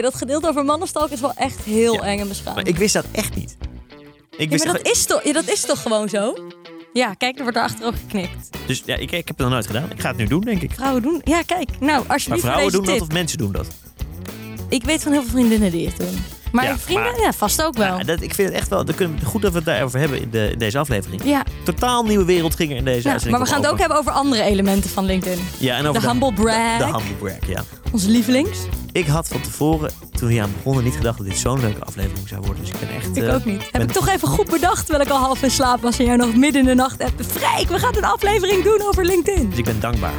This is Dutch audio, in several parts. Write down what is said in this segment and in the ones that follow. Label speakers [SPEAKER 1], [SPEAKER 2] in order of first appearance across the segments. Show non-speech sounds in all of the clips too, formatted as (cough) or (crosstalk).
[SPEAKER 1] dat gedeelte over mannenstalk is wel echt heel eng en beschaamd.
[SPEAKER 2] Maar ik wist dat echt niet. Ik
[SPEAKER 1] Ja,
[SPEAKER 2] wist
[SPEAKER 1] maar
[SPEAKER 2] gewoon-
[SPEAKER 1] dat is, toch, ja, dat is toch gewoon zo? Ja, kijk, er wordt erachter ook geknikt.
[SPEAKER 2] Dus ja, ik, ik heb het nog nooit gedaan. Ik ga het nu doen, denk ik.
[SPEAKER 1] Vrouwen doen... Ja, kijk. Nou,
[SPEAKER 2] Maar
[SPEAKER 1] alsjeblieft voor
[SPEAKER 2] vrouwen
[SPEAKER 1] deze
[SPEAKER 2] doen dat
[SPEAKER 1] tip. Oh.
[SPEAKER 2] of mensen doen dat?
[SPEAKER 1] Ik weet van heel veel vriendinnen die het doen. Maar
[SPEAKER 2] Ja,
[SPEAKER 1] vrienden?
[SPEAKER 2] maar-
[SPEAKER 1] Ja, vast ook wel.
[SPEAKER 2] Ja, dat, ik vind het echt wel. Dat kunnen, we- goed dat we het daarover hebben in, de, in deze aflevering.
[SPEAKER 1] Ja,
[SPEAKER 2] Totaal nieuwe wereld ging er in deze
[SPEAKER 1] ja,
[SPEAKER 2] uitzending.
[SPEAKER 1] maar we gaan het ook
[SPEAKER 2] over.
[SPEAKER 1] hebben over andere elementen van LinkedIn.
[SPEAKER 2] Ja, en over
[SPEAKER 1] De humble brag.
[SPEAKER 2] De, de humble brag, ja.
[SPEAKER 1] Onze lievelings.
[SPEAKER 2] Ik had van tevoren, toen we hier aan begonnen, niet gedacht dat dit zo'n leuke aflevering zou worden. Dus ik ben echt...
[SPEAKER 1] Ik
[SPEAKER 2] eh,
[SPEAKER 1] ook niet. Heb
[SPEAKER 2] ben-
[SPEAKER 1] ik toch even goed bedacht terwijl ik al half in slaap was en jij nog midden in de nacht hebt. Freek, we gaan een aflevering doen over LinkedIn.
[SPEAKER 2] Dus ik ben dankbaar.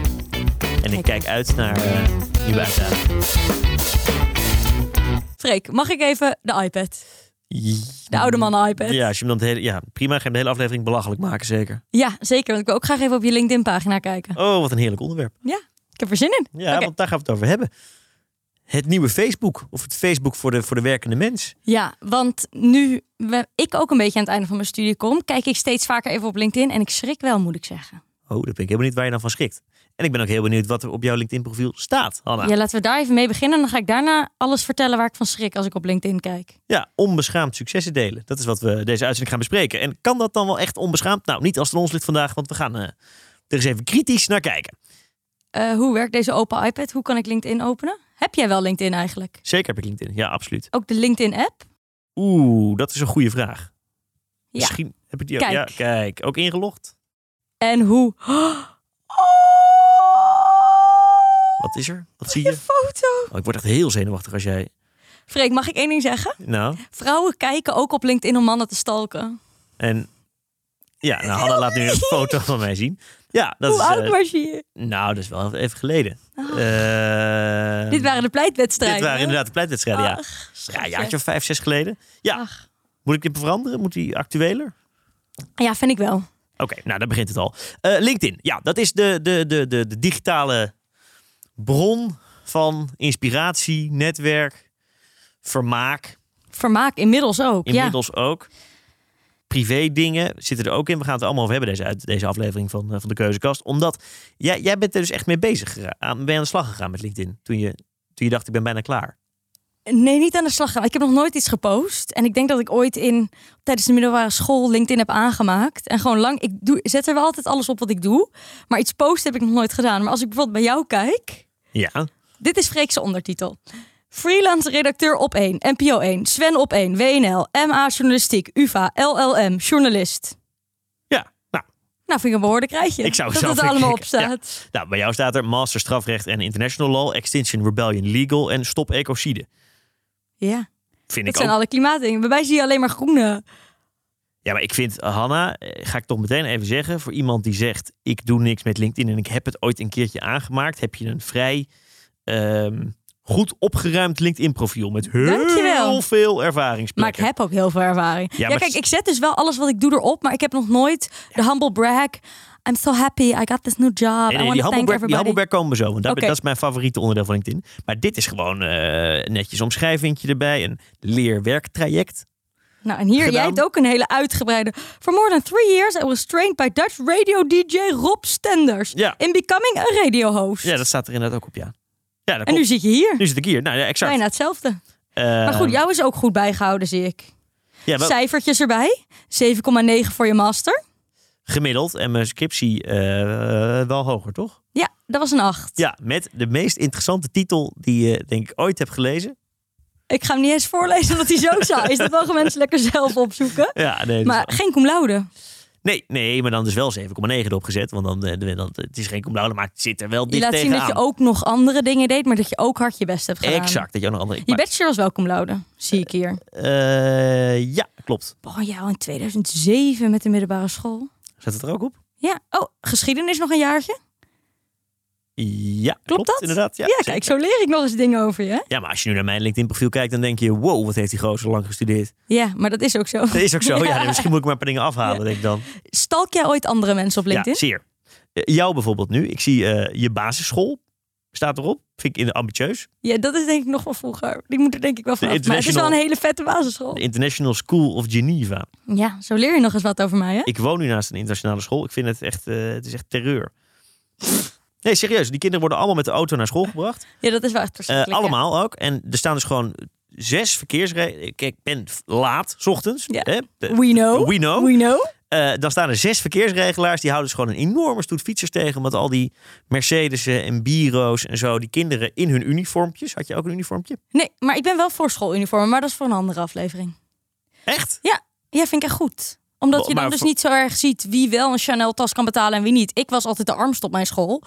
[SPEAKER 2] En ik kijk uit naar eh nieuwe uitdaging.
[SPEAKER 1] Freek, mag ik even de iPad? De oude mannen iPad.
[SPEAKER 2] Ja, als je hem dan de hele, ja, prima. Ga je hem de hele aflevering belachelijk maken, zeker.
[SPEAKER 1] Ja, zeker. Want ik wil ook graag even op je LinkedIn pagina kijken.
[SPEAKER 2] Oh, wat een heerlijk onderwerp.
[SPEAKER 1] Ja, ik heb er zin in.
[SPEAKER 2] Ja,
[SPEAKER 1] Oké.
[SPEAKER 2] want daar gaan we het over hebben. Het nieuwe Facebook. Of het Facebook voor de, voor de werkende mens.
[SPEAKER 1] Ja, want nu we- ik ook een beetje aan het einde van mijn studie kom, kijk ik steeds vaker even op LinkedIn en ik schrik wel, moet ik zeggen.
[SPEAKER 2] Oh, dat ben ik heel benieuwd waar je dan van schrikt. En ik ben ook heel benieuwd wat er op jouw LinkedIn-profiel staat, Hanna.
[SPEAKER 1] Ja, laten we daar even mee beginnen en dan ga ik daarna alles vertellen waar ik van schrik als ik op LinkedIn kijk.
[SPEAKER 2] Ja, onbeschaamd successen delen. Dat is wat we deze uitzending gaan bespreken. En kan dat dan wel echt onbeschaamd? Nou, niet als het ons ligt vandaag, want we gaan eh, er eens even kritisch naar kijken.
[SPEAKER 1] Eh, hoe werkt deze open iPad? Hoe kan ik LinkedIn openen? Heb jij wel LinkedIn eigenlijk?
[SPEAKER 2] Zeker heb ik LinkedIn. Ja, absoluut.
[SPEAKER 1] Ook de LinkedIn-app?
[SPEAKER 2] Oeh, dat is een goede vraag.
[SPEAKER 1] Ja.
[SPEAKER 2] Misschien heb ik die ook.
[SPEAKER 1] Kijk.
[SPEAKER 2] Ja, kijk. Ook ingelogd.
[SPEAKER 1] En hoe?
[SPEAKER 2] Oh! Wat is er? Wat zie
[SPEAKER 1] je
[SPEAKER 2] je?
[SPEAKER 1] foto.
[SPEAKER 2] Oh, ik word echt heel zenuwachtig als jij...
[SPEAKER 1] Freek, mag ik één ding zeggen?
[SPEAKER 2] Nou,
[SPEAKER 1] Vrouwen kijken ook op LinkedIn om mannen te stalken. (laughs)
[SPEAKER 2] en... Ja, nou, Hanna laat nu een foto van mij zien. Ja, dat
[SPEAKER 1] hoe
[SPEAKER 2] is...
[SPEAKER 1] oud
[SPEAKER 2] eh,
[SPEAKER 1] was je?
[SPEAKER 2] Nou, dat is wel even geleden. Eh,
[SPEAKER 1] Dit waren de pleitwedstrijden.
[SPEAKER 2] Dit waren inderdaad de pleitwedstrijden, ja.
[SPEAKER 1] Ach,
[SPEAKER 2] Ja, een
[SPEAKER 1] schatje.
[SPEAKER 2] jaartje of vijf, zes geleden. Ja,
[SPEAKER 1] Ach.
[SPEAKER 2] moet ik dit veranderen? Moet die actueler?
[SPEAKER 1] Ja, vind ik wel.
[SPEAKER 2] Oké, nou, daar begint het al. Eh, LinkedIn, ja, dat is de, de, de, de, de digitale bron van inspiratie, netwerk, vermaak.
[SPEAKER 1] Vermaak inmiddels ook.
[SPEAKER 2] Inmiddels ook. Privé dingen zitten er ook in. We gaan het er allemaal over hebben deze, uit, deze aflevering van, eh, van de Keuzekast. Omdat jij, jij bent er dus echt mee bezig gera- aan, ben je aan de slag gegaan met LinkedIn. Toen je, toen je dacht, ik ben bijna klaar.
[SPEAKER 1] Ja. Nee, niet aan de slag gaan. Ik heb nog nooit iets gepost. En ik denk dat ik ooit in, tijdens de middelbare school LinkedIn heb aangemaakt. En gewoon lang, ik doe, zet er wel altijd alles op wat ik doe. Maar iets posten heb ik nog nooit gedaan. Maar als ik bijvoorbeeld bij jou kijk.
[SPEAKER 2] Ja.
[SPEAKER 1] Dit is Freekse ondertitel. Freelance redacteur op 1, NPO 1, Sven op 1, WNL, MA journalistiek, UvA, LLM, journalist.
[SPEAKER 2] Ja, nou,
[SPEAKER 1] Nou, vind ik een behoorlijk rijtje.
[SPEAKER 2] Ik zou het
[SPEAKER 1] dat
[SPEAKER 2] zelf
[SPEAKER 1] het er allemaal op
[SPEAKER 2] denken, (laughs) ja.
[SPEAKER 1] staat.
[SPEAKER 2] Nou, bij jou staat er Master Strafrecht en International Law, Extinction Rebellion Legal en Stop Ecocide.
[SPEAKER 1] Ja,
[SPEAKER 2] Vind
[SPEAKER 1] dat
[SPEAKER 2] ik
[SPEAKER 1] zijn
[SPEAKER 2] ook.
[SPEAKER 1] alle klimaatdingen. Bij mij zie je alleen maar groene.
[SPEAKER 2] Ja, maar ik vind, eh, Hanna, eh, ga ik toch meteen even zeggen, voor iemand die zegt, ik doe niks met LinkedIn en ik heb het ooit een keertje aangemaakt, heb je een vrij ehm, goed opgeruimd LinkedIn profiel met heel
[SPEAKER 1] Dankjewel.
[SPEAKER 2] veel
[SPEAKER 1] Maar
[SPEAKER 2] ervaringsplekken.
[SPEAKER 1] ik heb ook heel veel ervaring. Ja,
[SPEAKER 2] maar-
[SPEAKER 1] kijk, ik zet dus wel alles wat ik doe erop, maar ik heb nog nooit de humble brag. I'm so happy, I got this new job.
[SPEAKER 2] Nee,
[SPEAKER 1] I
[SPEAKER 2] nee,
[SPEAKER 1] want to thank
[SPEAKER 2] die Hamelberg, die
[SPEAKER 1] everybody.
[SPEAKER 2] Hamelberg komen we zo, want dat,
[SPEAKER 1] Oké.
[SPEAKER 2] dat is mijn favoriete onderdeel van LinkedIn. Maar dit is gewoon eh, netjes omschrijvingje erbij, een leerwerktraject.
[SPEAKER 1] Nou, en hier, jij
[SPEAKER 2] gedaan.
[SPEAKER 1] hebt ook een hele uitgebreide. For more than three years, I was trained by Dutch radio DJ Rob Stenders.
[SPEAKER 2] Ja.
[SPEAKER 1] In becoming a radio host.
[SPEAKER 2] Ja, dat staat er inderdaad ook op, ja. Ja, dat
[SPEAKER 1] en nu zit
[SPEAKER 2] klopt.
[SPEAKER 1] je hier.
[SPEAKER 2] Nu zit ik hier. Nou ja, exact.
[SPEAKER 1] Bijna hetzelfde. maar
[SPEAKER 2] Eh,
[SPEAKER 1] goed, jou is ook goed bijgehouden, zie ik.
[SPEAKER 2] ja, wel
[SPEAKER 1] Cijfertjes erbij. 7,9 voor je master.
[SPEAKER 2] gemiddeld en mijn scriptie eh, wel hoger, toch?
[SPEAKER 1] Ja, dat was een 8.
[SPEAKER 2] Ja, met de meest interessante titel die je denk ik ooit hebt gelezen.
[SPEAKER 1] Ik ga hem niet eens voorlezen, want die zo saai is. Dat mogen mensen lekker zelf opzoeken.
[SPEAKER 2] Ja, nee, dat is
[SPEAKER 1] Maar
[SPEAKER 2] wel-
[SPEAKER 1] geen cum laude.
[SPEAKER 2] nee, nee, maar dan dus wel 7,9 erop gezet. Want dan, eh, dan, het is geen cum laude, maar het zit er wel
[SPEAKER 1] Je
[SPEAKER 2] dicht
[SPEAKER 1] laat zien dat
[SPEAKER 2] tegenaan.
[SPEAKER 1] je ook nog andere dingen deed, maar dat je ook hard je best hebt gedaan.
[SPEAKER 2] Exact, dat je ook nog andere...
[SPEAKER 1] Je
[SPEAKER 2] maar,
[SPEAKER 1] bachelor was wel cum laude, zie ik hier.
[SPEAKER 2] eh, ja, klopt.
[SPEAKER 1] Oh ja, al in 2007 met de middelbare school.
[SPEAKER 2] Zet het er ook op?
[SPEAKER 1] Ja, oh, geschiedenis nog een jaartje?
[SPEAKER 2] Ja, klopt,
[SPEAKER 1] dat?
[SPEAKER 2] inderdaad. Ja,
[SPEAKER 1] Ja,
[SPEAKER 2] zeker.
[SPEAKER 1] kijk, zo leer ik nog eens dingen over je. hè?
[SPEAKER 2] Ja, maar als je nu naar mijn LinkedIn-profiel kijkt, dan denk je... wow, wat heeft die gozer
[SPEAKER 1] (laughs)
[SPEAKER 2] lang gestudeerd.
[SPEAKER 1] Ja, maar dat is ook zo.
[SPEAKER 2] Dat is ook zo. Ja, nee, misschien moet ik maar een paar dingen afhalen, denk ik dan.
[SPEAKER 1] Stalk jij ooit andere mensen op LinkedIn?
[SPEAKER 2] Ja, zeer. Eh, jou bijvoorbeeld nu. Ik zie eh, je basisschool staat erop. Vind ik in- ambitieus.
[SPEAKER 1] Ja, dat is denk ik nog van vroeger. Die moet er denk ik wel vanaf. Maar het is wel een
[SPEAKER 2] international-
[SPEAKER 1] hele vette basisschool.
[SPEAKER 2] De International School of Geneva.
[SPEAKER 1] Ja, zo leer je nog eens wat over mij, hè?
[SPEAKER 2] Ik woon nu naast een internationale school. Ik vind het echt, eh, het is echt terreur. Nee, serieus. Die kinderen worden allemaal met de auto naar school gebracht.
[SPEAKER 1] Ja, dat is wel echt
[SPEAKER 2] Eh,
[SPEAKER 1] verschrikkelijk. ja.
[SPEAKER 2] allemaal ook. En er staan dus gewoon zes verkeersregels. Kijk, ik ben f- laat, s ochtends.
[SPEAKER 1] Ja.
[SPEAKER 2] Hè? De-
[SPEAKER 1] We know.
[SPEAKER 2] We know.
[SPEAKER 1] We know.
[SPEAKER 2] Eh, dan staan er zes verkeersregelaars. Die houden dus gewoon een enorme stoet fietsers tegen. Omdat al die Mercedes'en en bureaus en zo. Die kinderen in hun uniformpjes. Had je ook een uniformpje?
[SPEAKER 1] Nee, maar ik ben wel voor schooluniformen, maar dat is voor een andere aflevering.
[SPEAKER 2] Echt?
[SPEAKER 1] Ja, vind ik echt goed. Omdat je
[SPEAKER 2] Maar
[SPEAKER 1] dan dus
[SPEAKER 2] voor-
[SPEAKER 1] niet zo erg ziet wie wel een Chanel tas kan betalen en wie niet. Ik was altijd de armst op mijn school.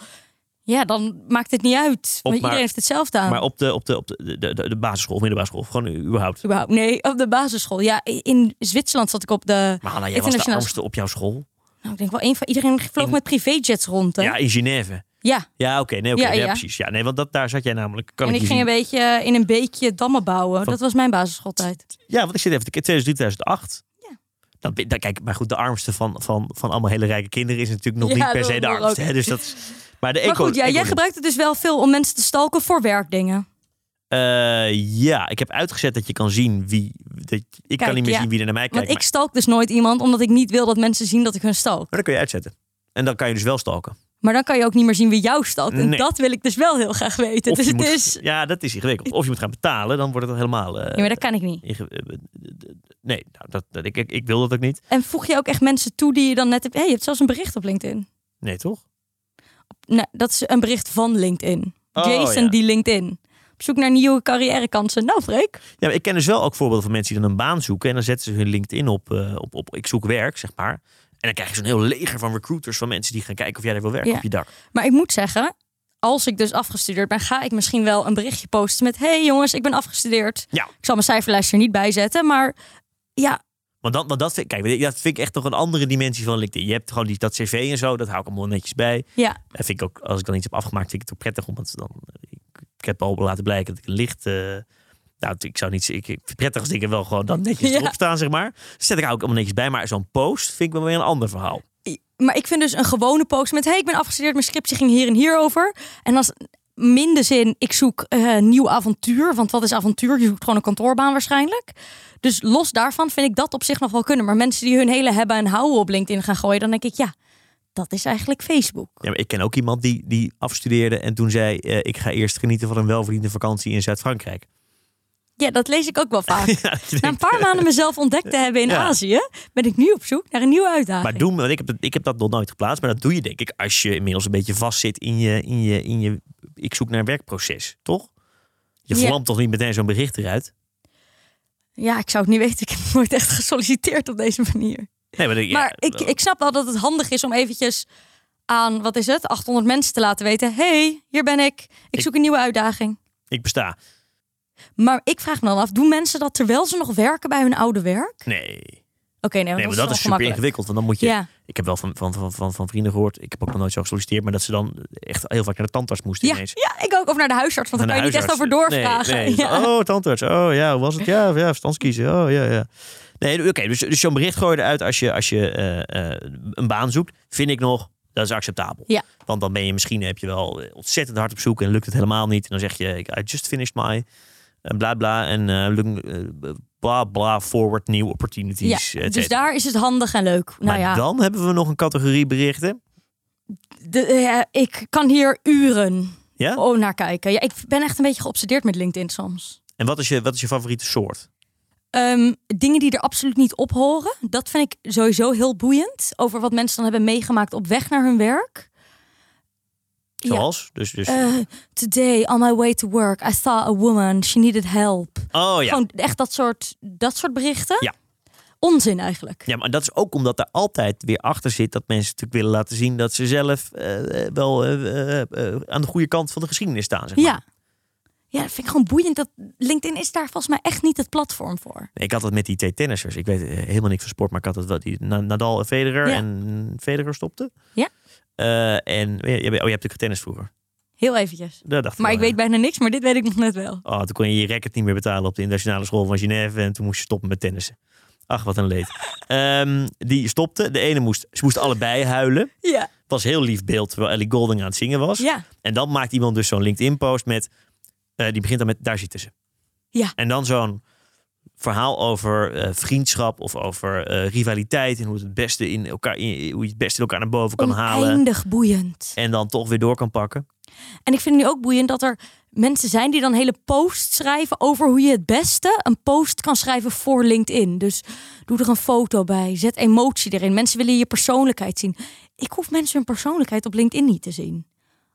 [SPEAKER 1] Ja, dan maakt het niet uit. Want
[SPEAKER 2] maar-
[SPEAKER 1] iedereen heeft hetzelfde aan.
[SPEAKER 2] Maar op de, op de, op de, de, de, de basisschool, middelbare school. Gewoon überhaupt.
[SPEAKER 1] Überhaupt. Nee, op de basisschool. Ja, in Zwitserland zat ik op de...
[SPEAKER 2] Maar Hanna, jij was de
[SPEAKER 1] Internationaal-
[SPEAKER 2] armste op jouw school.
[SPEAKER 1] Nou, ik denk wel één van... Iedereen vloog
[SPEAKER 2] In-
[SPEAKER 1] met privéjets rond, hè?
[SPEAKER 2] Ja, in Genève.
[SPEAKER 1] Ja.
[SPEAKER 2] Ja, oké. Nee, oké.
[SPEAKER 1] Ja,
[SPEAKER 2] ja,
[SPEAKER 1] ja.
[SPEAKER 2] precies. Ja, nee, want dat, daar zat jij namelijk. Kan
[SPEAKER 1] En
[SPEAKER 2] ik
[SPEAKER 1] ik
[SPEAKER 2] je
[SPEAKER 1] ging een
[SPEAKER 2] zien.
[SPEAKER 1] beetje eh, in een beekje dammen bouwen. Dat was mijn basisschooltijd.
[SPEAKER 2] Ja, want ik zit even te kijken. 2003, 2008.
[SPEAKER 1] Ja.
[SPEAKER 2] Dan, ben- dan, kijk, maar goed, de armste van, van, van allemaal hele rijke kinderen is natuurlijk nog
[SPEAKER 1] Ja,
[SPEAKER 2] niet per
[SPEAKER 1] dat
[SPEAKER 2] se de
[SPEAKER 1] nog
[SPEAKER 2] armste.
[SPEAKER 1] ook.
[SPEAKER 2] Hè, dus dat is- maar de
[SPEAKER 1] Maar
[SPEAKER 2] eco-
[SPEAKER 1] goed, ja, jij
[SPEAKER 2] eco-
[SPEAKER 1] gebruikt het dus wel veel om mensen te stalken voor werkdingen.
[SPEAKER 2] Eh, ja, ik heb uitgezet dat je kan zien wie. Dat, ik kan niet meer
[SPEAKER 1] ja.
[SPEAKER 2] zien wie er naar mij kijkt.
[SPEAKER 1] Want
[SPEAKER 2] Maar,
[SPEAKER 1] ik stalk dus nooit iemand omdat ik niet wil dat mensen zien dat ik hun stalk.
[SPEAKER 2] maar dat kun je uitzetten. En dan kan je dus wel
[SPEAKER 1] (laughs)
[SPEAKER 2] stalken.
[SPEAKER 1] Maar dan kan je ook niet meer zien wie jou stalkt. En
[SPEAKER 2] Nee.
[SPEAKER 1] dat wil ik dus wel heel graag weten.
[SPEAKER 2] Of
[SPEAKER 1] dus
[SPEAKER 2] je
[SPEAKER 1] het
[SPEAKER 2] moet-
[SPEAKER 1] is...
[SPEAKER 2] Ja, dat is ingewikkeld. Of je moet gaan betalen, dan wordt het helemaal. eh,
[SPEAKER 1] Ja, maar dat kan ik niet.
[SPEAKER 2] inge- eh, nee, nou, dat, dat, ik, ik, ik wil dat ook niet.
[SPEAKER 1] En voeg je ook echt mensen toe die je dan net hebt... Hé, hey, je hebt zelfs een bericht op LinkedIn.
[SPEAKER 2] Nee, toch?
[SPEAKER 1] Nou, dat is een bericht van LinkedIn.
[SPEAKER 2] Oh,
[SPEAKER 1] Jason
[SPEAKER 2] ja.
[SPEAKER 1] die LinkedIn. Op zoek naar nieuwe carrièrekansen. Nou, Freek.
[SPEAKER 2] Ja, maar ik ken dus wel ook voorbeelden van mensen die dan een baan zoeken. En dan zetten ze hun LinkedIn op, eh, op, op ik zoek werk, zeg maar. En dan krijg je zo'n heel leger van recruiters van mensen die gaan kijken of jij daar wil werken
[SPEAKER 1] Ja.
[SPEAKER 2] op je dak.
[SPEAKER 1] Maar ik moet zeggen, als ik dus afgestudeerd ben, ga ik misschien wel een berichtje posten met: Hey jongens, ik ben afgestudeerd.
[SPEAKER 2] Ja.
[SPEAKER 1] Ik zal mijn cijferlijst er niet bij zetten, maar ja,
[SPEAKER 2] Want, dan, want dat, vind, kijk, dat vind ik echt nog een andere dimensie van LinkedIn. Je hebt gewoon die, dat cv en zo, dat hou ik allemaal netjes bij.
[SPEAKER 1] ja.
[SPEAKER 2] En vind ik ook, als ik dan iets heb afgemaakt, vind ik het ook prettig. Omdat dan, ik, ik heb al laten blijken dat ik een licht... eh, nou, ik zou niet... Ik, ik vind het prettig als dingen wel gewoon dan
[SPEAKER 1] (laughs)
[SPEAKER 2] netjes
[SPEAKER 1] Ja.
[SPEAKER 2] erop staan, zeg maar. Dus Zet ik ook allemaal netjes bij. Maar zo'n post vind ik wel weer een ander verhaal.
[SPEAKER 1] Maar ik vind dus een gewone post met: Hey, ik ben afgestudeerd, mijn scriptie ging hier en hier over. En als minder zin, ik zoek eh, een nieuw avontuur. Want wat is avontuur? Je zoekt gewoon een kantoorbaan waarschijnlijk. Dus los daarvan vind ik dat op zich nog wel kunnen. Maar mensen die hun hele hebben en houden op LinkedIn gaan gooien, dan denk ik: Ja, dat is eigenlijk Facebook.
[SPEAKER 2] Ja, maar ik ken ook iemand die, die afstudeerde en toen zei... eh, ik ga eerst genieten van een welverdiende vakantie in Zuid-Frankrijk.
[SPEAKER 1] Ja, dat lees ik ook wel vaak.
[SPEAKER 2] (laughs) Ja, dat je
[SPEAKER 1] Na een
[SPEAKER 2] denkt,
[SPEAKER 1] paar maanden mezelf ontdekt te hebben in
[SPEAKER 2] Ja.
[SPEAKER 1] Azië, ben ik nu op zoek naar een nieuwe uitdaging.
[SPEAKER 2] maar doen, want ik heb, dat- ik heb dat nog nooit geplaatst. Maar dat doe je denk ik als je inmiddels een beetje vastzit in je... In je, in je ik zoek naar werkproces, toch? Je
[SPEAKER 1] Ja.
[SPEAKER 2] vlamt toch niet meteen zo'n bericht eruit?
[SPEAKER 1] Ja, ik zou het niet weten. Ik heb nooit echt gesolliciteerd op deze manier.
[SPEAKER 2] Nee, maar, ja,
[SPEAKER 1] maar ik, ik snap wel dat het handig is om eventjes aan, wat is het, 800 mensen te laten weten. hey, hier ben ik. Ik
[SPEAKER 2] Ik-
[SPEAKER 1] zoek een nieuwe uitdaging.
[SPEAKER 2] ik besta.
[SPEAKER 1] Maar ik vraag me dan af, doen mensen dat terwijl ze nog werken bij hun oude werk? Oké,
[SPEAKER 2] Nee.
[SPEAKER 1] nee,
[SPEAKER 2] Nee,
[SPEAKER 1] want
[SPEAKER 2] maar
[SPEAKER 1] dat,
[SPEAKER 2] dat is
[SPEAKER 1] wel
[SPEAKER 2] super
[SPEAKER 1] gemakkelijk.
[SPEAKER 2] ingewikkeld. Want dan moet je.
[SPEAKER 1] Ja,
[SPEAKER 2] Ik heb wel van, van, van, van, van vrienden gehoord. Ik heb ook nog nooit zo gesolliciteerd. Maar dat ze dan echt heel vaak naar de tandarts moesten
[SPEAKER 1] ja,
[SPEAKER 2] ineens.
[SPEAKER 1] ja, ik ook. Of naar de huisarts, want daar
[SPEAKER 2] Van
[SPEAKER 1] kan je
[SPEAKER 2] de
[SPEAKER 1] niet echt over
[SPEAKER 2] huisarts.
[SPEAKER 1] doorvragen.
[SPEAKER 2] Nee, nee.
[SPEAKER 1] (laughs) Ja.
[SPEAKER 2] Oh, tandarts. Oh ja, hoe was het? Ja, ja verstandskiezen. Oh ja, ja. Nee, oké. dus, dus zo'n bericht gooi je eruit als je, als je eh, eh, een baan zoekt. Vind ik nog, dat is acceptabel.
[SPEAKER 1] Ja.
[SPEAKER 2] Want dan ben je misschien, heb je wel eh, ontzettend hard op zoek en lukt het helemaal niet. En dan zeg je, I just finished my en bla bla. En eh, luk- eh, bla bla forward new
[SPEAKER 1] Ja,
[SPEAKER 2] opportunities. et
[SPEAKER 1] dus
[SPEAKER 2] cetera.
[SPEAKER 1] daar is het handig en leuk. Nou
[SPEAKER 2] maar
[SPEAKER 1] ja.
[SPEAKER 2] dan hebben we nog een categorie berichten.
[SPEAKER 1] De, eh, ik kan hier uren
[SPEAKER 2] Ja?
[SPEAKER 1] oh, naar kijken. Ja, ik ben echt een beetje geobsedeerd met LinkedIn soms.
[SPEAKER 2] En wat is je, wat is je favoriete soort?
[SPEAKER 1] Ehm, dingen die er absoluut niet op horen, dat vind ik sowieso heel boeiend. Over wat mensen dan hebben meegemaakt op weg naar hun werk. Ja.
[SPEAKER 2] Zoals? Dus, dus...
[SPEAKER 1] Eh, today, on my way to work, I saw a woman, she needed help.
[SPEAKER 2] oh ja.
[SPEAKER 1] Gewoon echt dat soort, dat soort berichten.
[SPEAKER 2] Ja.
[SPEAKER 1] Onzin eigenlijk.
[SPEAKER 2] ja, maar dat is ook omdat er altijd weer achter zit dat mensen natuurlijk willen laten zien dat ze zelf eh, eh, wel eh, eh, eh, aan de goede kant van de geschiedenis staan. Zeg maar.
[SPEAKER 1] Ja. Ja, dat vind ik gewoon boeiend. Dat LinkedIn is daar volgens mij echt niet het platform voor.
[SPEAKER 2] Ik had dat met die twee tennissers. Ik weet eh, helemaal niks van sport, maar ik had dat wel. Die Na- Nadal en Federer.
[SPEAKER 1] Ja.
[SPEAKER 2] En Federer stopte.
[SPEAKER 1] Ja.
[SPEAKER 2] Eh, en oh, je hebt natuurlijk tennis vroeger.
[SPEAKER 1] Heel eventjes.
[SPEAKER 2] Dat dacht
[SPEAKER 1] Maar ik
[SPEAKER 2] wel,
[SPEAKER 1] weet bijna niks, maar dit weet ik nog net wel.
[SPEAKER 2] ja. Oh, toen kon je je racket niet meer betalen op de internationale school van Genève. En toen moest je stoppen met tennissen. Ach, wat een
[SPEAKER 1] (laughs)
[SPEAKER 2] leed. Ehm, die stopte. De ene moest, ze moesten allebei huilen.
[SPEAKER 1] Ja.
[SPEAKER 2] was een heel lief beeld terwijl Ellie Golding aan het zingen was.
[SPEAKER 1] Ja.
[SPEAKER 2] En dan maakt iemand dus zo'n LinkedIn-post met. eh, die begint dan met daar zitten ze.
[SPEAKER 1] Ja.
[SPEAKER 2] En dan zo'n verhaal over eh, vriendschap of over eh, rivaliteit. En hoe, het het beste in elkaar, in- hoe je het beste in elkaar naar boven kan halen.
[SPEAKER 1] Eindig boeiend.
[SPEAKER 2] En dan toch weer door kan pakken.
[SPEAKER 1] En ik vind nu ook boeiend dat er mensen zijn die dan hele posts schrijven over hoe je het beste een post kan schrijven voor LinkedIn. Dus doe er een foto bij, zet emotie erin. Mensen willen je persoonlijkheid zien. Ik hoef mensen hun persoonlijkheid op LinkedIn niet te zien.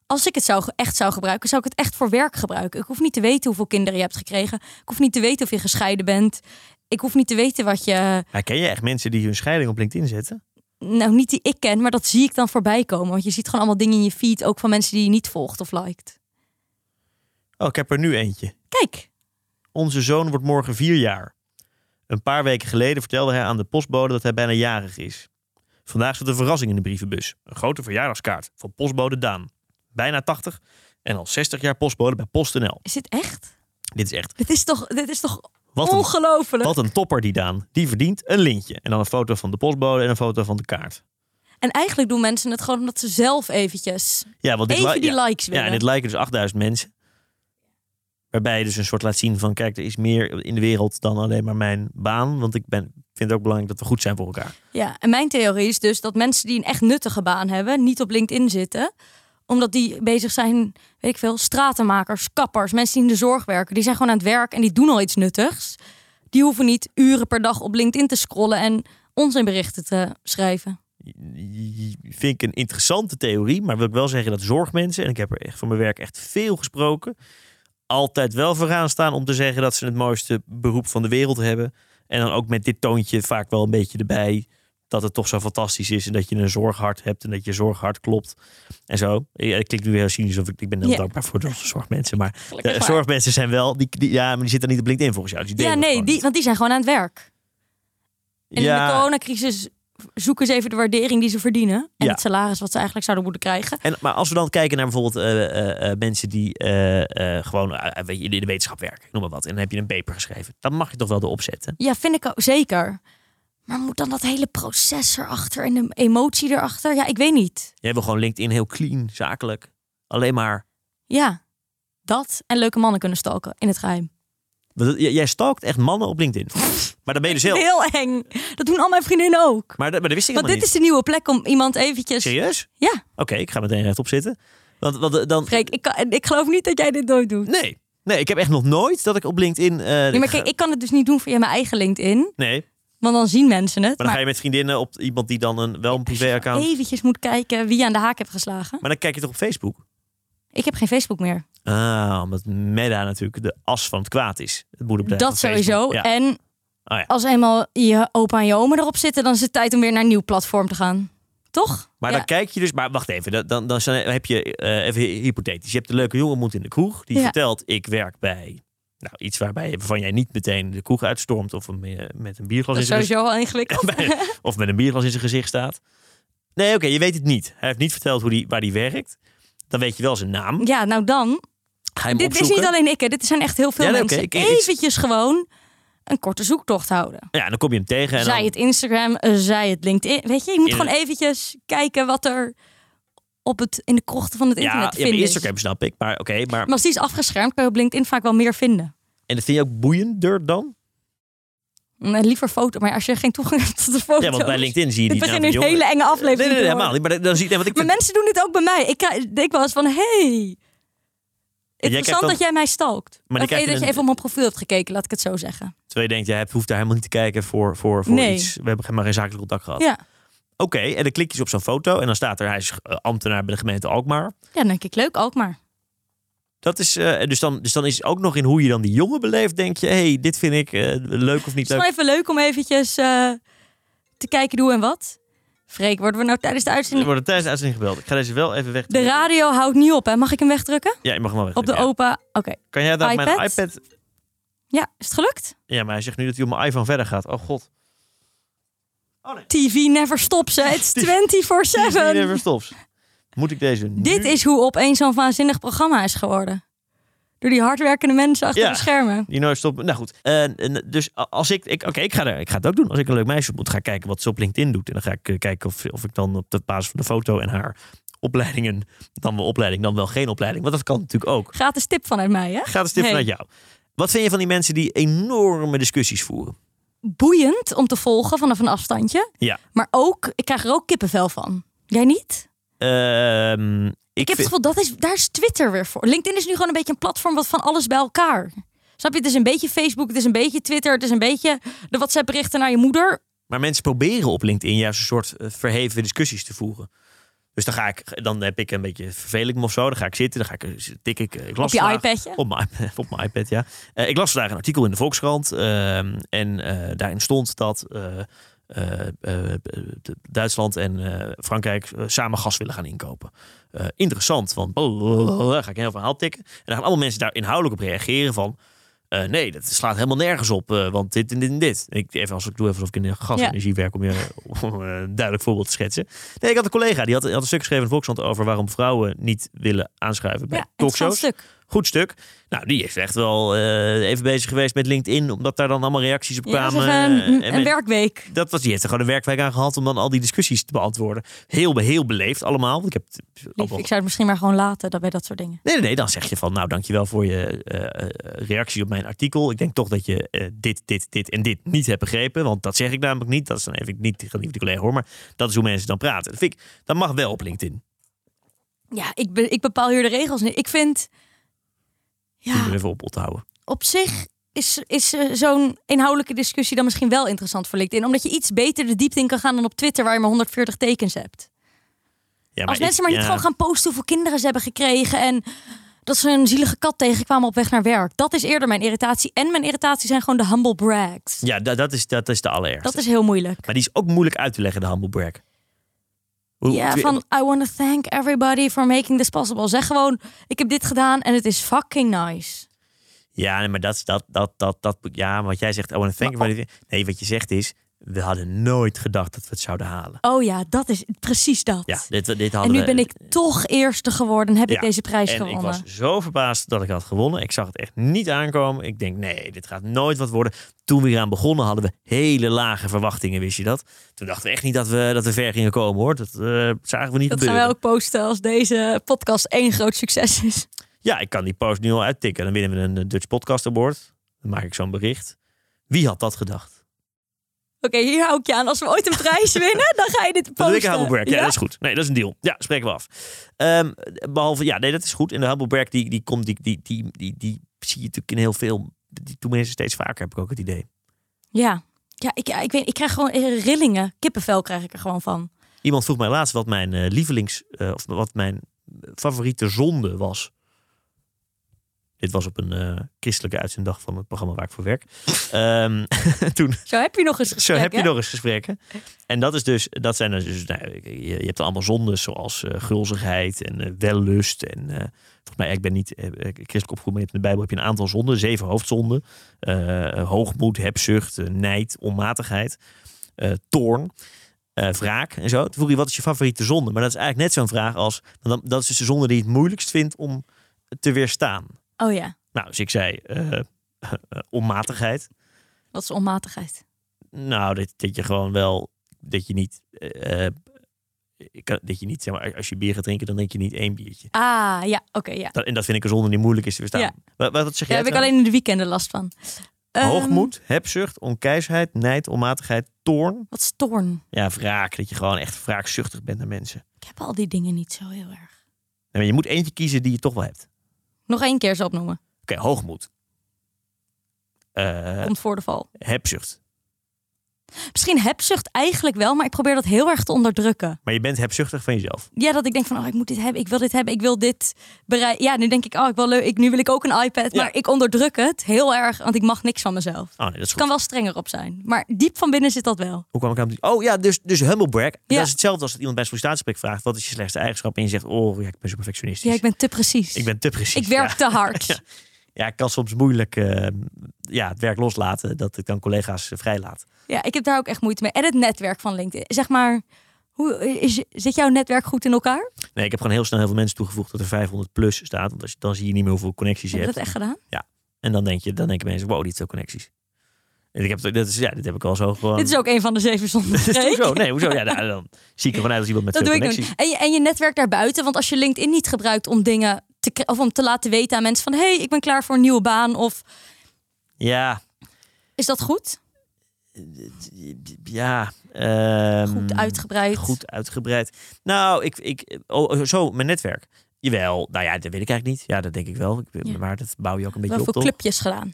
[SPEAKER 1] Als ik het zou, echt zou gebruiken, zou ik het echt voor werk gebruiken. Ik hoef niet te weten hoeveel kinderen je hebt gekregen. Ik hoef niet te weten of je gescheiden bent. Ik hoef niet te weten wat je.
[SPEAKER 2] Maar ken je echt mensen die hun scheiding op LinkedIn zetten?
[SPEAKER 1] Nou, niet die ik ken, maar dat zie ik dan voorbij komen. Want je ziet gewoon allemaal dingen in je feed, ook van mensen die je niet volgt of liked.
[SPEAKER 2] Oh, ik heb er nu eentje.
[SPEAKER 1] Kijk,
[SPEAKER 2] Onze zoon wordt morgen vier jaar. Een paar weken geleden vertelde hij aan de postbode dat hij bijna jarig is. Vandaag zit een verrassing in de brievenbus. Een grote verjaardagskaart van postbode Daan. Bijna 80 en al 60 jaar postbode bij PostNL.
[SPEAKER 1] Is dit echt?
[SPEAKER 2] Dit is echt...
[SPEAKER 1] Dit is toch, dit is toch
[SPEAKER 2] Wat een,
[SPEAKER 1] ongelooflijk?
[SPEAKER 2] wat een topper die Daan. Die verdient een lintje. En dan een foto van de postbode en een foto van de kaart.
[SPEAKER 1] En eigenlijk doen mensen het gewoon omdat ze zelf eventjes
[SPEAKER 2] Ja, want dit
[SPEAKER 1] even
[SPEAKER 2] li-
[SPEAKER 1] die
[SPEAKER 2] ja,
[SPEAKER 1] likes willen.
[SPEAKER 2] ja, en dit liken dus 8000 mensen. Waarbij je dus een soort laat zien van... kijk, er is meer in de wereld dan alleen maar mijn baan. Want ik ben, vind het ook belangrijk dat we goed zijn voor elkaar.
[SPEAKER 1] Ja, en mijn theorie is dus dat mensen die een echt nuttige baan hebben, niet op LinkedIn zitten omdat die bezig zijn, weet ik veel, stratenmakers, kappers, mensen die in de zorg werken. Die zijn gewoon aan het werk en die doen al iets nuttigs. Die hoeven niet uren per dag op LinkedIn te scrollen en onzinberichten te schrijven.
[SPEAKER 2] vind ik een interessante theorie. Maar wil ik wel zeggen dat zorgmensen, en ik heb er echt voor mijn werk echt veel gesproken, altijd wel vooraan staan om te zeggen dat ze het mooiste beroep van de wereld hebben. En dan ook met dit toontje vaak wel een beetje erbij. Dat het toch zo fantastisch is en dat je een zorghart hebt en dat je zorghart klopt. En zo. Ja, het klinkt nu heel cynisch of ik, ik ben heel
[SPEAKER 1] Ja.
[SPEAKER 2] dankbaar voor de zorgmensen. Maar
[SPEAKER 1] Gelukkig
[SPEAKER 2] de
[SPEAKER 1] maar.
[SPEAKER 2] zorgmensen zijn wel, die, die- ja, maar die zitten niet op LinkedIn volgens jou. Dus die
[SPEAKER 1] Ja,
[SPEAKER 2] delen dat
[SPEAKER 1] nee,
[SPEAKER 2] gewoon
[SPEAKER 1] die, want die zijn gewoon aan het werk. En
[SPEAKER 2] niet.
[SPEAKER 1] in de
[SPEAKER 2] ja,
[SPEAKER 1] coronacrisis zoeken ze even de waardering die ze verdienen. En
[SPEAKER 2] Ja.
[SPEAKER 1] het salaris wat ze eigenlijk zouden moeten krijgen.
[SPEAKER 2] En, maar als we dan kijken naar bijvoorbeeld eh, eh, eh, mensen die eh, eh, gewoon eh, weet je, in de wetenschap werken, ik noem maar wat. En dan heb je een paper geschreven. Dan mag je toch wel erop zetten.
[SPEAKER 1] Ja, vind ik ook zeker. Maar moet dan dat hele proces erachter en de emotie erachter? Ja, ik weet niet.
[SPEAKER 2] Jij wil gewoon LinkedIn heel clean, zakelijk. Alleen maar.
[SPEAKER 1] Ja, dat en leuke mannen kunnen stalken in het geheim.
[SPEAKER 2] want dat- j- Jij stalkt echt mannen op LinkedIn. Maar dan ben je dus heel.
[SPEAKER 1] Heel eng. Dat doen al mijn vriendinnen ook.
[SPEAKER 2] Maar dat, maar dat wist ik
[SPEAKER 1] Want
[SPEAKER 2] helemaal
[SPEAKER 1] dit
[SPEAKER 2] niet.
[SPEAKER 1] is de nieuwe plek om iemand eventjes...
[SPEAKER 2] Serieus?
[SPEAKER 1] Ja,
[SPEAKER 2] Oké, ik ga meteen rechtop zitten. Want, want eh, dan.
[SPEAKER 1] Freek, ik, kan, ik geloof niet dat jij dit nooit doet.
[SPEAKER 2] Nee. Nee, ik heb echt nog nooit dat ik op LinkedIn. eh,
[SPEAKER 1] Nee, maar
[SPEAKER 2] ga-
[SPEAKER 1] kijk, ik kan het dus niet doen via mijn eigen LinkedIn.
[SPEAKER 2] nee, maar
[SPEAKER 1] Want dan zien mensen het.
[SPEAKER 2] dan ga je met vriendinnen op iemand die dan een, wel een
[SPEAKER 1] maar
[SPEAKER 2] privéaccount.
[SPEAKER 1] eventjes moet kijken wie je aan de haak hebt geslagen.
[SPEAKER 2] Maar dan kijk je toch op Facebook?
[SPEAKER 1] Ik heb geen Facebook meer.
[SPEAKER 2] Ah, omdat Meta natuurlijk de as van het kwaad is. Het moederbedrijf
[SPEAKER 1] Dat
[SPEAKER 2] van Facebook.
[SPEAKER 1] sowieso. Eh,
[SPEAKER 2] Ja.
[SPEAKER 1] En
[SPEAKER 2] Oh ja.
[SPEAKER 1] als eenmaal je opa en je oma erop zitten, dan is het tijd om weer naar een nieuw platform te gaan. Toch?
[SPEAKER 2] Maar
[SPEAKER 1] Ja.
[SPEAKER 2] dan kijk je dus... Maar wacht even, dan, dan, dan zijn- heb je... eh, even hypothetisch. Je hebt een leuke jongen ontmoet in de kroeg. Die
[SPEAKER 1] Ja.
[SPEAKER 2] vertelt, ik werk bij... Nou, iets waarbij, waarvan jij niet meteen de kroeg uitstormt... of hem, eh, met een bierglas
[SPEAKER 1] dat
[SPEAKER 2] in
[SPEAKER 1] is
[SPEAKER 2] zijn gezicht... (laughs)
[SPEAKER 1] sowieso wel ingewikkeld.
[SPEAKER 2] bij- of met een bierglas in zijn gezicht staat. Nee, oké, je weet het niet. Hij heeft niet verteld hoe die, waar hij werkt. Dan weet je wel zijn naam.
[SPEAKER 1] Ja, nou dan.
[SPEAKER 2] Ga je hem
[SPEAKER 1] Dit is
[SPEAKER 2] opzoeken.
[SPEAKER 1] niet alleen ik, hè. dit zijn echt heel veel
[SPEAKER 2] Ja, nee, oké,
[SPEAKER 1] mensen.
[SPEAKER 2] ik- ik-
[SPEAKER 1] Eventjes gewoon een korte zoektocht houden.
[SPEAKER 2] Ja, dan kom je hem tegen. En
[SPEAKER 1] zij
[SPEAKER 2] dan,
[SPEAKER 1] het Instagram, eh, zij het LinkedIn. Weet je, je moet
[SPEAKER 2] In-
[SPEAKER 1] gewoon eventjes kijken wat er op het, in de krochten van het
[SPEAKER 2] ja,
[SPEAKER 1] internet te
[SPEAKER 2] ja, bij
[SPEAKER 1] vinden is.
[SPEAKER 2] Instagram snap ik. Maar oké, maar...
[SPEAKER 1] Maar als die is afgeschermd, kan je op LinkedIn vaak wel meer vinden.
[SPEAKER 2] En dat vind je ook boeiender dan?
[SPEAKER 1] Nee, Eh, Liever foto, maar als je geen toegang (laughs) hebt tot de foto.
[SPEAKER 2] Ja, want bij LinkedIn zie je
[SPEAKER 1] Dit
[SPEAKER 2] niet.
[SPEAKER 1] begint nu een hele enge
[SPEAKER 2] Nee,
[SPEAKER 1] aflevering.
[SPEAKER 2] nee, nee,
[SPEAKER 1] te
[SPEAKER 2] helemaal
[SPEAKER 1] worden.
[SPEAKER 2] niet. Maar dan zie je. Nee, want ik
[SPEAKER 1] Maar
[SPEAKER 2] vind-
[SPEAKER 1] mensen doen dit ook bij mij. Ik krijg- denk wel eens van, hey, interessant
[SPEAKER 2] kijkt dan-
[SPEAKER 1] dat jij mij stalkt.
[SPEAKER 2] dan
[SPEAKER 1] Maar of
[SPEAKER 2] krijg je
[SPEAKER 1] dat je
[SPEAKER 2] een-
[SPEAKER 1] even op mijn profiel hebt gekeken, laat ik het zo zeggen.
[SPEAKER 2] Terwijl je denkt, jij hebt- hoeft daar helemaal niet te kijken voor, voor, voor
[SPEAKER 1] Nee.
[SPEAKER 2] iets. We hebben helemaal geen zakelijk contact gehad.
[SPEAKER 1] Ja.
[SPEAKER 2] Oké, en dan klik je op zo'n foto en dan staat er, hij is eh, ambtenaar bij de gemeente Alkmaar.
[SPEAKER 1] ja, dan denk ik, leuk ook maar.
[SPEAKER 2] Dat is, eh, dus, dan, dus dan is het ook nog in hoe je dan die jongen beleeft, denk je, hey, dit vind ik eh, leuk of niet
[SPEAKER 1] Het is
[SPEAKER 2] leuk.
[SPEAKER 1] wel even leuk om eventjes eh, te kijken hoe en wat. Freek, worden we nou tijdens de
[SPEAKER 2] Er
[SPEAKER 1] uitzending...
[SPEAKER 2] worden tijdens de uitzending gebeld. Ik ga deze wel even weg.
[SPEAKER 1] De radio houdt niet op, hè? Mag ik hem wegdrukken?
[SPEAKER 2] Ja, je mag hem wel weg.
[SPEAKER 1] Op de
[SPEAKER 2] ja.
[SPEAKER 1] opa... Oké.
[SPEAKER 2] Kan jij dat op mijn
[SPEAKER 1] iPad?
[SPEAKER 2] iPad?
[SPEAKER 1] Ja, is het gelukt?
[SPEAKER 2] Ja, maar hij zegt nu dat hij op mijn iPhone verder gaat. Oh god. Oh nee.
[SPEAKER 1] TV never stops, hè?
[SPEAKER 2] (laughs)
[SPEAKER 1] It's 24-7.
[SPEAKER 2] Die never stops. Moet ik deze nu-
[SPEAKER 1] Dit is hoe opeens zo'n waanzinnig programma is geworden. Door die hardwerkende mensen achter
[SPEAKER 2] Ja.
[SPEAKER 1] de schermen.
[SPEAKER 2] Die nooit stoppen. Nou goed. Eh, en dus a- als ik. ik Oké, ik, ga er- ik ga het ook doen. Als ik een leuk meisje ontmoet, ga ik kijken wat ze op LinkedIn doet. En dan ga ik eh, kijken of, of ik dan op de basis van de foto en haar opleidingen. dan wel opleiding, dan wel geen opleiding. Want dat kan natuurlijk ook.
[SPEAKER 1] Gratis tip vanuit mij, hè?
[SPEAKER 2] Gaat een tip
[SPEAKER 1] Hey.
[SPEAKER 2] vanuit jou. Wat vind je van die mensen die enorme discussies voeren?
[SPEAKER 1] Boeiend om te volgen vanaf een afstandje.
[SPEAKER 2] Ja.
[SPEAKER 1] Maar ook, ik krijg er ook kippenvel van. Jij niet?
[SPEAKER 2] Ehm, ik
[SPEAKER 1] Ik, heb
[SPEAKER 2] vind-
[SPEAKER 1] het gevoel, dat is, daar is Twitter weer voor. LinkedIn is nu gewoon een beetje een platform wat van alles bij elkaar. Snap je? Het is een beetje Facebook, het is een beetje Twitter, het is een beetje de WhatsApp berichten naar je moeder.
[SPEAKER 2] Maar mensen proberen op LinkedIn juist een soort eh, verheven discussies te voeren. Dus dan ga ik, dan heb ik een beetje vervel ik me of zo. Dan ga ik zitten, dan ga ik, eh, tik ik. eh, ik las
[SPEAKER 1] Op je
[SPEAKER 2] vandaag-
[SPEAKER 1] iPadje.
[SPEAKER 2] Op mijn, op mijn iPad, (laughs) ja. Eh, ik las vandaag een artikel in de Volkskrant. ehm, en eh, daarin stond dat eh, eh, eh, de- Duitsland en eh, Frankrijk eh, samen gas willen gaan inkopen. Eh, interessant, want oh, blablabla, ga ik een heel verhaal tikken. En dan gaan allemaal mensen daar inhoudelijk op reageren van... eh, nee, dat slaat helemaal nergens op, eh, want dit en dit en dit. Ik, even als ik doe even alsof ik in de gasenergie werk om je (laughs) om, eh, een duidelijk voorbeeld te schetsen. Nee, ik had een collega die had, had een stuk geschreven in de Volkskrant over waarom vrouwen niet willen aanschuiven bij
[SPEAKER 1] Ja, interessant
[SPEAKER 2] talkshows.
[SPEAKER 1] stuk.
[SPEAKER 2] Goed stuk. Nou, die is echt wel eh, even bezig geweest met LinkedIn, omdat daar dan allemaal reacties op
[SPEAKER 1] Ja, mm, dat
[SPEAKER 2] kwamen.
[SPEAKER 1] is een,
[SPEAKER 2] eh,
[SPEAKER 1] een
[SPEAKER 2] men-
[SPEAKER 1] werkweek.
[SPEAKER 2] dat was, die heeft er gewoon een werkwijk aan gehad om dan al die discussies te beantwoorden. Heel, heel beleefd allemaal. Want ik heb het
[SPEAKER 1] Lief,
[SPEAKER 2] allemaal-
[SPEAKER 1] ik zou het misschien maar gewoon laten dat bij dat soort dingen.
[SPEAKER 2] Nee, nee, nee, dan zeg je van, nou, dankjewel voor je eh, eh, reactie op mijn artikel. Ik denk toch dat je eh, dit, dit, dit en dit niet hebt begrepen. Want dat zeg ik namelijk niet. Dat is dan even niet geliefde collega hoor. Maar dat is hoe mensen dan praten. Dat, vind ik, dat mag wel op LinkedIn.
[SPEAKER 1] Ja, ik, be- ik bepaal hier de regels niet. Ik vind.
[SPEAKER 2] Om
[SPEAKER 1] Ja,
[SPEAKER 2] er even op te houden.
[SPEAKER 1] op zich is, is eh, zo'n inhoudelijke discussie dan misschien wel interessant voor LinkedIn. Omdat je iets beter de diepte in kan gaan dan op Twitter, waar je maar 140 tekens hebt.
[SPEAKER 2] Ja,
[SPEAKER 1] Als
[SPEAKER 2] ik-
[SPEAKER 1] mensen maar niet
[SPEAKER 2] ja,
[SPEAKER 1] gewoon gaan posten hoeveel kinderen ze hebben gekregen en dat ze een zielige kat tegenkwamen op weg naar werk. Dat is eerder mijn irritatie. En mijn irritatie zijn gewoon de humble brags.
[SPEAKER 2] Ja, dat, dat, is, dat is de allerergste.
[SPEAKER 1] Dat is heel moeilijk.
[SPEAKER 2] Maar die is ook moeilijk uit te leggen, de humble brag. Hoe-
[SPEAKER 1] Ja,
[SPEAKER 2] twi-
[SPEAKER 1] van I want to thank everybody for making this possible. Zeg gewoon, ik heb dit gedaan en het is fucking nice.
[SPEAKER 2] Ja, nee, maar dat, is- dat, dat, dat, dat, ja, maar wat jij zegt, oh, en thank you. for the- Nee, wat je zegt is, we hadden nooit gedacht dat we het zouden halen.
[SPEAKER 1] Oh ja, dat is precies dat.
[SPEAKER 2] Ja, dit, dit hadden
[SPEAKER 1] en nu
[SPEAKER 2] we-
[SPEAKER 1] ben ik toch eerste geworden en heb
[SPEAKER 2] Ja,
[SPEAKER 1] ik deze prijs
[SPEAKER 2] En ik
[SPEAKER 1] gewonnen.
[SPEAKER 2] was zo verbaasd dat ik had gewonnen. Ik zag het echt niet aankomen. Ik denk, nee, dit gaat nooit wat worden. Toen we eraan begonnen hadden we hele lage verwachtingen, wist je dat? Toen dachten we echt niet dat we, dat we ver gingen komen, hoor. Dat eh, zagen we niet
[SPEAKER 1] Dat gaan
[SPEAKER 2] gebeuren.
[SPEAKER 1] wij ook posten als deze podcast één groot succes is.
[SPEAKER 2] Ja, ik kan die post nu al uittikken. Dan winnen we een eh, Dutch Podcast Award. Dan maak ik zo'n bericht. Wie had dat gedacht?
[SPEAKER 1] Oké, hier hou ik je aan. Als we ooit een
[SPEAKER 2] (laughs)
[SPEAKER 1] prijs winnen, dan ga je dit
[SPEAKER 2] Dat
[SPEAKER 1] posten.
[SPEAKER 2] wil ik een Hubbleberg. Ja,
[SPEAKER 1] Ja?
[SPEAKER 2] dat is goed. Nee, dat is een deal. Ja, spreken we af. Ehm, behalve, ja, nee, dat is goed. En de Hubbleberg, die, die komt, die, die, die, die, die zie je natuurlijk in heel veel. Die doen mensen steeds vaker, heb ik ook het idee.
[SPEAKER 1] ja. Ja, ik, ja, ik, weet, ik krijg gewoon eh, rillingen. Kippenvel krijg ik er gewoon van.
[SPEAKER 2] Iemand vroeg mij laatst wat mijn eh, lievelings, eh, of wat mijn favoriete zonde was. Dit was op een eh, christelijke uitzenddag van het programma waar ik voor werk. (laughs) Ehm, toen,
[SPEAKER 1] Zo heb je nog eens
[SPEAKER 2] zo
[SPEAKER 1] gesprek,
[SPEAKER 2] heb je
[SPEAKER 1] hè?
[SPEAKER 2] nog eens gesprekken. En dat is dus, dat zijn dan dus, nou, je, je hebt allemaal zonden zoals eh, gulzigheid en eh, wellust. En eh, volgens mij, ik ben niet eh, eh, christelijk opgevoed, maar je hebt in de Bijbel heb je een aantal zonden, zeven hoofdzonden: Eh, hoogmoed, hebzucht, eh, nijd, onmatigheid, eh, toorn. eh, wraak en zo. Toen vroeg je, wat is je favoriete zonde? Maar dat is eigenlijk net zo'n vraag als... want dan- Dat is dus de zonde die je het moeilijkst vindt om te weerstaan.
[SPEAKER 1] Oh ja,
[SPEAKER 2] Nou, dus ik zei eh, (laughs) onmatigheid.
[SPEAKER 1] dat is onmatigheid.
[SPEAKER 2] Nou, dat, dat je gewoon wel, dat je niet, eh, eh, ik kan- dat je niet, zeg maar, als je bier gaat drinken, dan drink je niet één biertje.
[SPEAKER 1] Ah, ja, oké, ja.
[SPEAKER 2] Dat, en dat vind ik een zonde die moeilijk is te verstaan.
[SPEAKER 1] Ja.
[SPEAKER 2] Wat, wat
[SPEAKER 1] Daar
[SPEAKER 2] zeg jij?
[SPEAKER 1] heb ik
[SPEAKER 2] trouwens?
[SPEAKER 1] alleen in de weekenden last van. Ehm,
[SPEAKER 2] Hoogmoed, hebzucht, onkeisheid, nijd, onmatigheid, toorn.
[SPEAKER 1] Ehm, Wat is toorn?
[SPEAKER 2] Ja, wraak. Dat je gewoon echt wraakzuchtig bent naar mensen.
[SPEAKER 1] Ik heb al die dingen niet zo heel erg.
[SPEAKER 2] Nee, maar je moet eentje kiezen die je toch wel hebt.
[SPEAKER 1] Nog één keer ze opnoemen.
[SPEAKER 2] Oké, hoogmoed. Eh,
[SPEAKER 1] Komt voor de val.
[SPEAKER 2] hebzucht.
[SPEAKER 1] Misschien hebzucht eigenlijk wel, maar ik probeer dat heel erg te onderdrukken.
[SPEAKER 2] Maar je bent hebzuchtig van jezelf.
[SPEAKER 1] Ja, dat ik denk van, oh, ik moet dit hebben, ik wil dit hebben, ik wil dit bereiken. Ja, nu denk ik, oh, ik wil leuk, ik, nu wil ik ook een iPad.
[SPEAKER 2] Ja.
[SPEAKER 1] Maar ik onderdruk het heel erg, want ik mag niks van mezelf.
[SPEAKER 2] Oh nee, dat is
[SPEAKER 1] Ik
[SPEAKER 2] goed.
[SPEAKER 1] kan wel strenger op zijn, maar diep van binnen zit dat wel.
[SPEAKER 2] Hoe kwam ik aan? Oh ja, dus, dus humble brag. Dat
[SPEAKER 1] Ja.
[SPEAKER 2] is hetzelfde als dat iemand bij een sollicitatiegesprek vraagt: wat is je slechtste eigenschap? En je zegt: oh ja, ik ben zo perfectionistisch.
[SPEAKER 1] Ja, ik ben te precies.
[SPEAKER 2] Ik ben te precies.
[SPEAKER 1] Ik werk
[SPEAKER 2] (laughs) ja.
[SPEAKER 1] te hard.
[SPEAKER 2] Ja, ik kan soms moeilijk eh, ja, het werk loslaten dat ik dan collega's eh, vrijlaat.
[SPEAKER 1] Ja, ik heb daar ook echt moeite mee. En het netwerk van LinkedIn. Zeg maar, hoe, is, zit jouw netwerk goed in elkaar?
[SPEAKER 2] Nee, ik heb gewoon heel snel heel veel mensen toegevoegd dat er 500 plus staat. Want als, je- dan zie je niet meer hoeveel connecties je
[SPEAKER 1] Heb je
[SPEAKER 2] hebt.
[SPEAKER 1] dat echt gedaan?
[SPEAKER 2] En dan denk je, dan denken mensen, wow, dit veel connecties. En ik heb, dat is, ja, dit heb ik al zo gewoon.
[SPEAKER 1] Dit is ook een van de zeven zonden.
[SPEAKER 2] Dit is toch zo? Nee, (laughs) hoezo? Ja, nou, dan zie ik ervan uit als iemand met
[SPEAKER 1] Dat
[SPEAKER 2] veel
[SPEAKER 1] doe ik
[SPEAKER 2] connecties.
[SPEAKER 1] niet. En je, en je netwerk daarbuiten, want als je LinkedIn niet gebruikt om dingen te kri- of om te laten weten aan mensen van hey, ik ben klaar voor een nieuwe baan of
[SPEAKER 2] Ja,
[SPEAKER 1] Is dat goed?
[SPEAKER 2] ja. ehm,
[SPEAKER 1] Goed uitgebreid.
[SPEAKER 2] Goed uitgebreid. Nou, ik, ik, oh, zo, mijn netwerk. Jawel, nou ja, dat weet ik eigenlijk niet. Ja, dat denk ik wel. Ik,
[SPEAKER 1] Ja.
[SPEAKER 2] Maar dat bouw je ook een beetje
[SPEAKER 1] Wel
[SPEAKER 2] op,
[SPEAKER 1] veel
[SPEAKER 2] toch?
[SPEAKER 1] clubjes gedaan.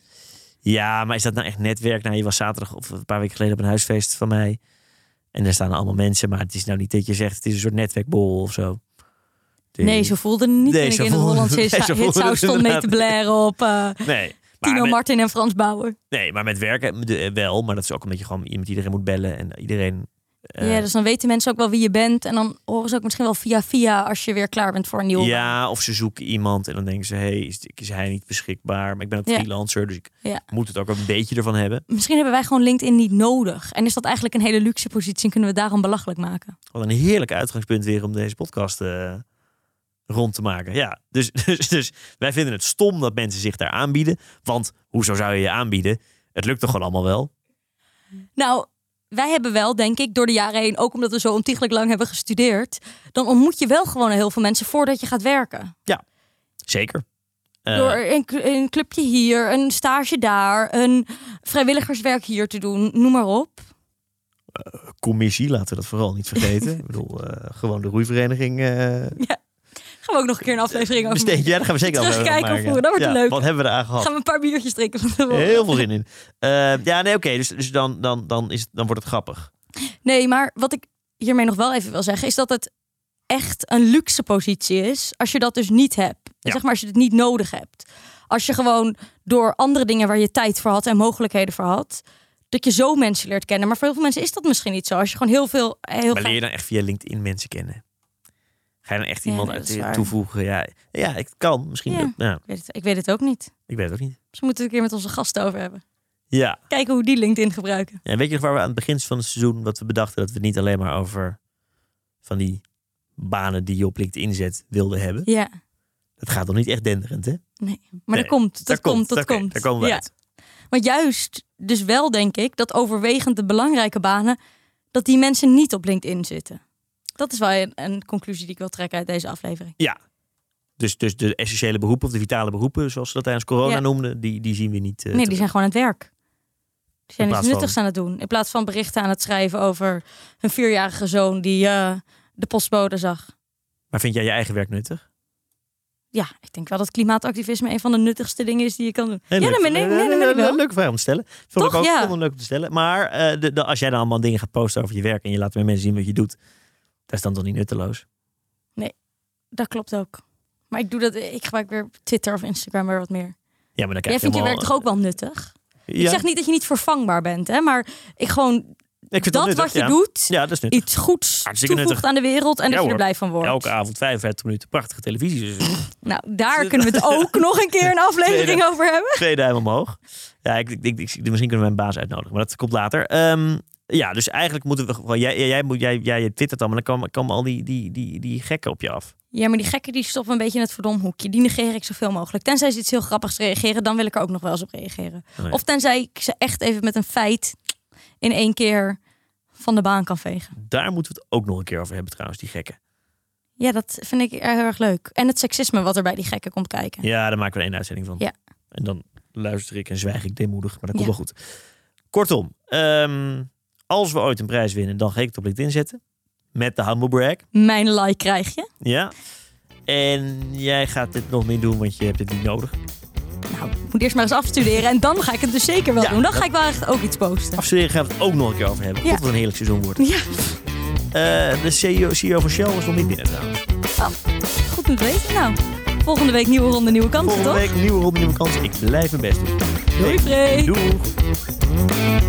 [SPEAKER 2] Ja, maar is dat nou echt netwerk? Nou, je was zaterdag of een paar weken geleden op een huisfeest van mij. En daar staan allemaal mensen, maar het is nou niet dat je zegt... het is een soort netwerkbol of zo. Het
[SPEAKER 1] Nee,
[SPEAKER 2] is-
[SPEAKER 1] zo voelde het niet
[SPEAKER 2] Nee,
[SPEAKER 1] toen
[SPEAKER 2] zo
[SPEAKER 1] ik in de
[SPEAKER 2] voelde-
[SPEAKER 1] Hollandse
[SPEAKER 2] (laughs) nee, zo
[SPEAKER 1] hit-
[SPEAKER 2] voelde het
[SPEAKER 1] hitsaus stond mee te
[SPEAKER 2] inderdaad.
[SPEAKER 1] blaren op eh, (laughs)
[SPEAKER 2] Nee. Maar
[SPEAKER 1] Tino
[SPEAKER 2] met-
[SPEAKER 1] Martin en Frans Bauer.
[SPEAKER 2] nee, maar met werken de- wel. Maar dat is ook een beetje gewoon... je met iedereen moet bellen en iedereen... eh,
[SPEAKER 1] ja, dus dan weten mensen ook wel wie je bent. En dan horen ze ook misschien wel via via als je weer klaar bent voor een nieuw.
[SPEAKER 2] Ja, of ze zoeken iemand en dan denken ze... hey, is, is hij niet beschikbaar? Maar ik ben ook
[SPEAKER 1] Ja.
[SPEAKER 2] freelancer, dus ik
[SPEAKER 1] Ja.
[SPEAKER 2] moet het ook een beetje ervan hebben.
[SPEAKER 1] Misschien hebben wij gewoon LinkedIn niet nodig. En is dat eigenlijk een hele luxe positie en kunnen we het daarom belachelijk maken.
[SPEAKER 2] Wat een heerlijk uitgangspunt weer om deze podcast eh, rond te maken. Ja, dus, (laughs) dus, dus wij vinden het stom dat mensen zich daar aanbieden. Want hoezo zou je je aanbieden? Het lukt toch gewoon allemaal wel?
[SPEAKER 1] Nou, wij hebben wel, denk ik, door de jaren heen, ook omdat we zo ontiegelijk lang hebben gestudeerd, dan ontmoet je wel gewoon heel veel mensen voordat je gaat werken.
[SPEAKER 2] Zeker. Eh,
[SPEAKER 1] door een, een clubje hier, een stage daar, een vrijwilligerswerk hier te doen, noem maar op.
[SPEAKER 2] commissie, laten we dat vooral niet vergeten. Ik bedoel, eh, gewoon de roeivereniging. eh
[SPEAKER 1] Gaan we ook nog een keer een aflevering over
[SPEAKER 2] besteed. Ja, daar gaan we
[SPEAKER 1] (laughs)
[SPEAKER 2] zeker
[SPEAKER 1] Terugkijken
[SPEAKER 2] aflevering van
[SPEAKER 1] of hoe, dat wordt
[SPEAKER 2] ja,
[SPEAKER 1] leuk.
[SPEAKER 2] Wat hebben we eraan gehad?
[SPEAKER 1] Gaan we een paar biertjes drinken van tevoren.
[SPEAKER 2] Heel veel zin in. Eh, ja, nee, oké. dus dus dan, dan, dan, is, het- dan wordt het grappig.
[SPEAKER 1] Nee, maar wat ik hiermee nog wel even wil zeggen is dat het echt een luxe positie is als je dat dus niet hebt.
[SPEAKER 2] Ja.
[SPEAKER 1] Zeg maar als je het niet nodig hebt. Als je gewoon door andere dingen waar je tijd voor had en mogelijkheden voor had, dat je zo mensen leert kennen. Maar voor heel veel mensen is dat misschien niet zo. Als je gewoon heel veel heel
[SPEAKER 2] maar
[SPEAKER 1] graag-
[SPEAKER 2] leer je dan echt via LinkedIn mensen kennen? Ga je dan echt
[SPEAKER 1] Ja,
[SPEAKER 2] iemand
[SPEAKER 1] nee,
[SPEAKER 2] uit
[SPEAKER 1] dat is waar.
[SPEAKER 2] toevoegen? Ja, ja, het kan. Misschien.
[SPEAKER 1] Ja.
[SPEAKER 2] dat- nou,
[SPEAKER 1] Ik weet, het, ik weet het ook niet.
[SPEAKER 2] ik weet het ook niet.
[SPEAKER 1] Dus we moeten het een keer met onze gasten over hebben.
[SPEAKER 2] Ja.
[SPEAKER 1] Kijken hoe die LinkedIn gebruiken.
[SPEAKER 2] En weet je nog waar we aan het begin van het seizoen... wat we bedachten dat we het niet alleen maar over... van die banen die je op LinkedIn zet wilden hebben?
[SPEAKER 1] Ja,
[SPEAKER 2] Dat gaat toch niet echt denderend, hè?
[SPEAKER 1] maar
[SPEAKER 2] Nee,
[SPEAKER 1] dat komt. Dat
[SPEAKER 2] Daar
[SPEAKER 1] komt, dat
[SPEAKER 2] daar- oké,
[SPEAKER 1] komt.
[SPEAKER 2] Daar komen we
[SPEAKER 1] ja.
[SPEAKER 2] uit.
[SPEAKER 1] Maar juist dus wel denk ik dat overwegend de belangrijke banen, dat die mensen niet op LinkedIn zitten. Dat is wel een, een conclusie die ik wil trekken uit deze aflevering.
[SPEAKER 2] Dus, dus de essentiële beroepen, of de vitale beroepen... zoals ze dat tijdens corona
[SPEAKER 1] Ja.
[SPEAKER 2] noemden... Die, die zien we niet. eh,
[SPEAKER 1] Nee, die
[SPEAKER 2] terug.
[SPEAKER 1] zijn gewoon aan het werk. Die zijn
[SPEAKER 2] In
[SPEAKER 1] iets
[SPEAKER 2] plaats van-
[SPEAKER 1] nuttigs aan het doen. In plaats van berichten aan het schrijven over hun vierjarige zoon die eh, de postbode zag.
[SPEAKER 2] Maar vind jij je eigen werk nuttig?
[SPEAKER 1] Ja, ik denk wel dat klimaatactivisme een van de nuttigste dingen is die je kan doen.
[SPEAKER 2] Heel
[SPEAKER 1] ja,
[SPEAKER 2] leuk.
[SPEAKER 1] dat ben ik,
[SPEAKER 2] Eh,
[SPEAKER 1] nee, dat ben ik
[SPEAKER 2] eh,
[SPEAKER 1] wel.
[SPEAKER 2] Leuke vraag om te stellen. Vond ik
[SPEAKER 1] Toch?
[SPEAKER 2] ook
[SPEAKER 1] Ja.
[SPEAKER 2] vond hem leuk om te stellen. Maar eh, de, de- als jij dan allemaal dingen gaat posten over je werk... en je laat weer mensen zien wat je doet... dat is dan toch niet nutteloos?
[SPEAKER 1] Dat klopt ook. Maar ik doe dat, ik gebruik weer Twitter of Instagram weer wat meer.
[SPEAKER 2] Ja, maar dan krijg
[SPEAKER 1] Jij vindt je
[SPEAKER 2] helemaal-
[SPEAKER 1] werk toch ook wel nuttig?
[SPEAKER 2] Ja,
[SPEAKER 1] Ik zeg niet dat je niet vervangbaar bent, hè, maar ik gewoon
[SPEAKER 2] ik vind
[SPEAKER 1] dat
[SPEAKER 2] nuttig,
[SPEAKER 1] wat je
[SPEAKER 2] ja.
[SPEAKER 1] doet,
[SPEAKER 2] Ja, dat is nuttig.
[SPEAKER 1] iets goeds
[SPEAKER 2] Hartstikke
[SPEAKER 1] toevoegt
[SPEAKER 2] nuttig.
[SPEAKER 1] aan de wereld en
[SPEAKER 2] Ja,
[SPEAKER 1] dat je er
[SPEAKER 2] hoor.
[SPEAKER 1] blij van wordt.
[SPEAKER 2] Elke avond 55 minuten prachtige televisie. Dus (laughs)
[SPEAKER 1] Nou, daar kunnen we het ook nog een keer een aflevering over hebben.
[SPEAKER 2] twee duim omhoog. Ja, ik, ik, ik, ik- misschien kunnen we mijn baas uitnodigen, maar dat komt later. Ehm, ja, dus eigenlijk moeten we gewoon... Jij, jij, jij, moet- jij, jij twittert dan, maar dan komen, komen al die, die, die, die gekken op je af.
[SPEAKER 1] Ja, maar die gekken die stoppen een beetje in het verdomhoekje. Die negeer ik zoveel mogelijk. Tenzij ze iets heel grappigs reageren, dan wil ik er ook nog wel eens op reageren.
[SPEAKER 2] Oh ja.
[SPEAKER 1] Of tenzij ik ze echt even met een feit in één keer van de baan kan vegen.
[SPEAKER 2] Daar moeten we het ook nog een keer over hebben trouwens, die gekken.
[SPEAKER 1] Ja, dat vind ik heel erg leuk. En het seksisme wat er bij die gekken komt kijken.
[SPEAKER 2] Ja, daar maken we één uitzending van.
[SPEAKER 1] Ja.
[SPEAKER 2] En dan luister ik en zwijg ik deemoedig, maar dat komt
[SPEAKER 1] Ja.
[SPEAKER 2] wel goed. Kortom, ehm, als we ooit een prijs winnen, dan ga ik het op LinkedIn zetten. Met de humble brag.
[SPEAKER 1] Mijn like krijg je.
[SPEAKER 2] Ja. En jij gaat dit nog meer doen, want je hebt dit niet nodig.
[SPEAKER 1] Nou, ik moet eerst maar eens afstuderen en dan ga ik het dus zeker wel
[SPEAKER 2] Ja,
[SPEAKER 1] doen. Dan
[SPEAKER 2] dat-
[SPEAKER 1] ga ik wel echt ook iets posten.
[SPEAKER 2] Afstuderen gaan we het ook nog een keer over hebben.
[SPEAKER 1] Ja.
[SPEAKER 2] God, wat een heerlijk seizoen wordt.
[SPEAKER 1] Ja,
[SPEAKER 2] Eh, de CEO, CEO van Shell is nog niet binnen trouwens.
[SPEAKER 1] goed om te weten. Nou, volgende week nieuwe ronde, nieuwe kansen,
[SPEAKER 2] Volgende
[SPEAKER 1] toch?
[SPEAKER 2] week nieuwe ronde, nieuwe kansen. Ik blijf mijn best doen.
[SPEAKER 1] Doei, Freek.
[SPEAKER 2] Doei.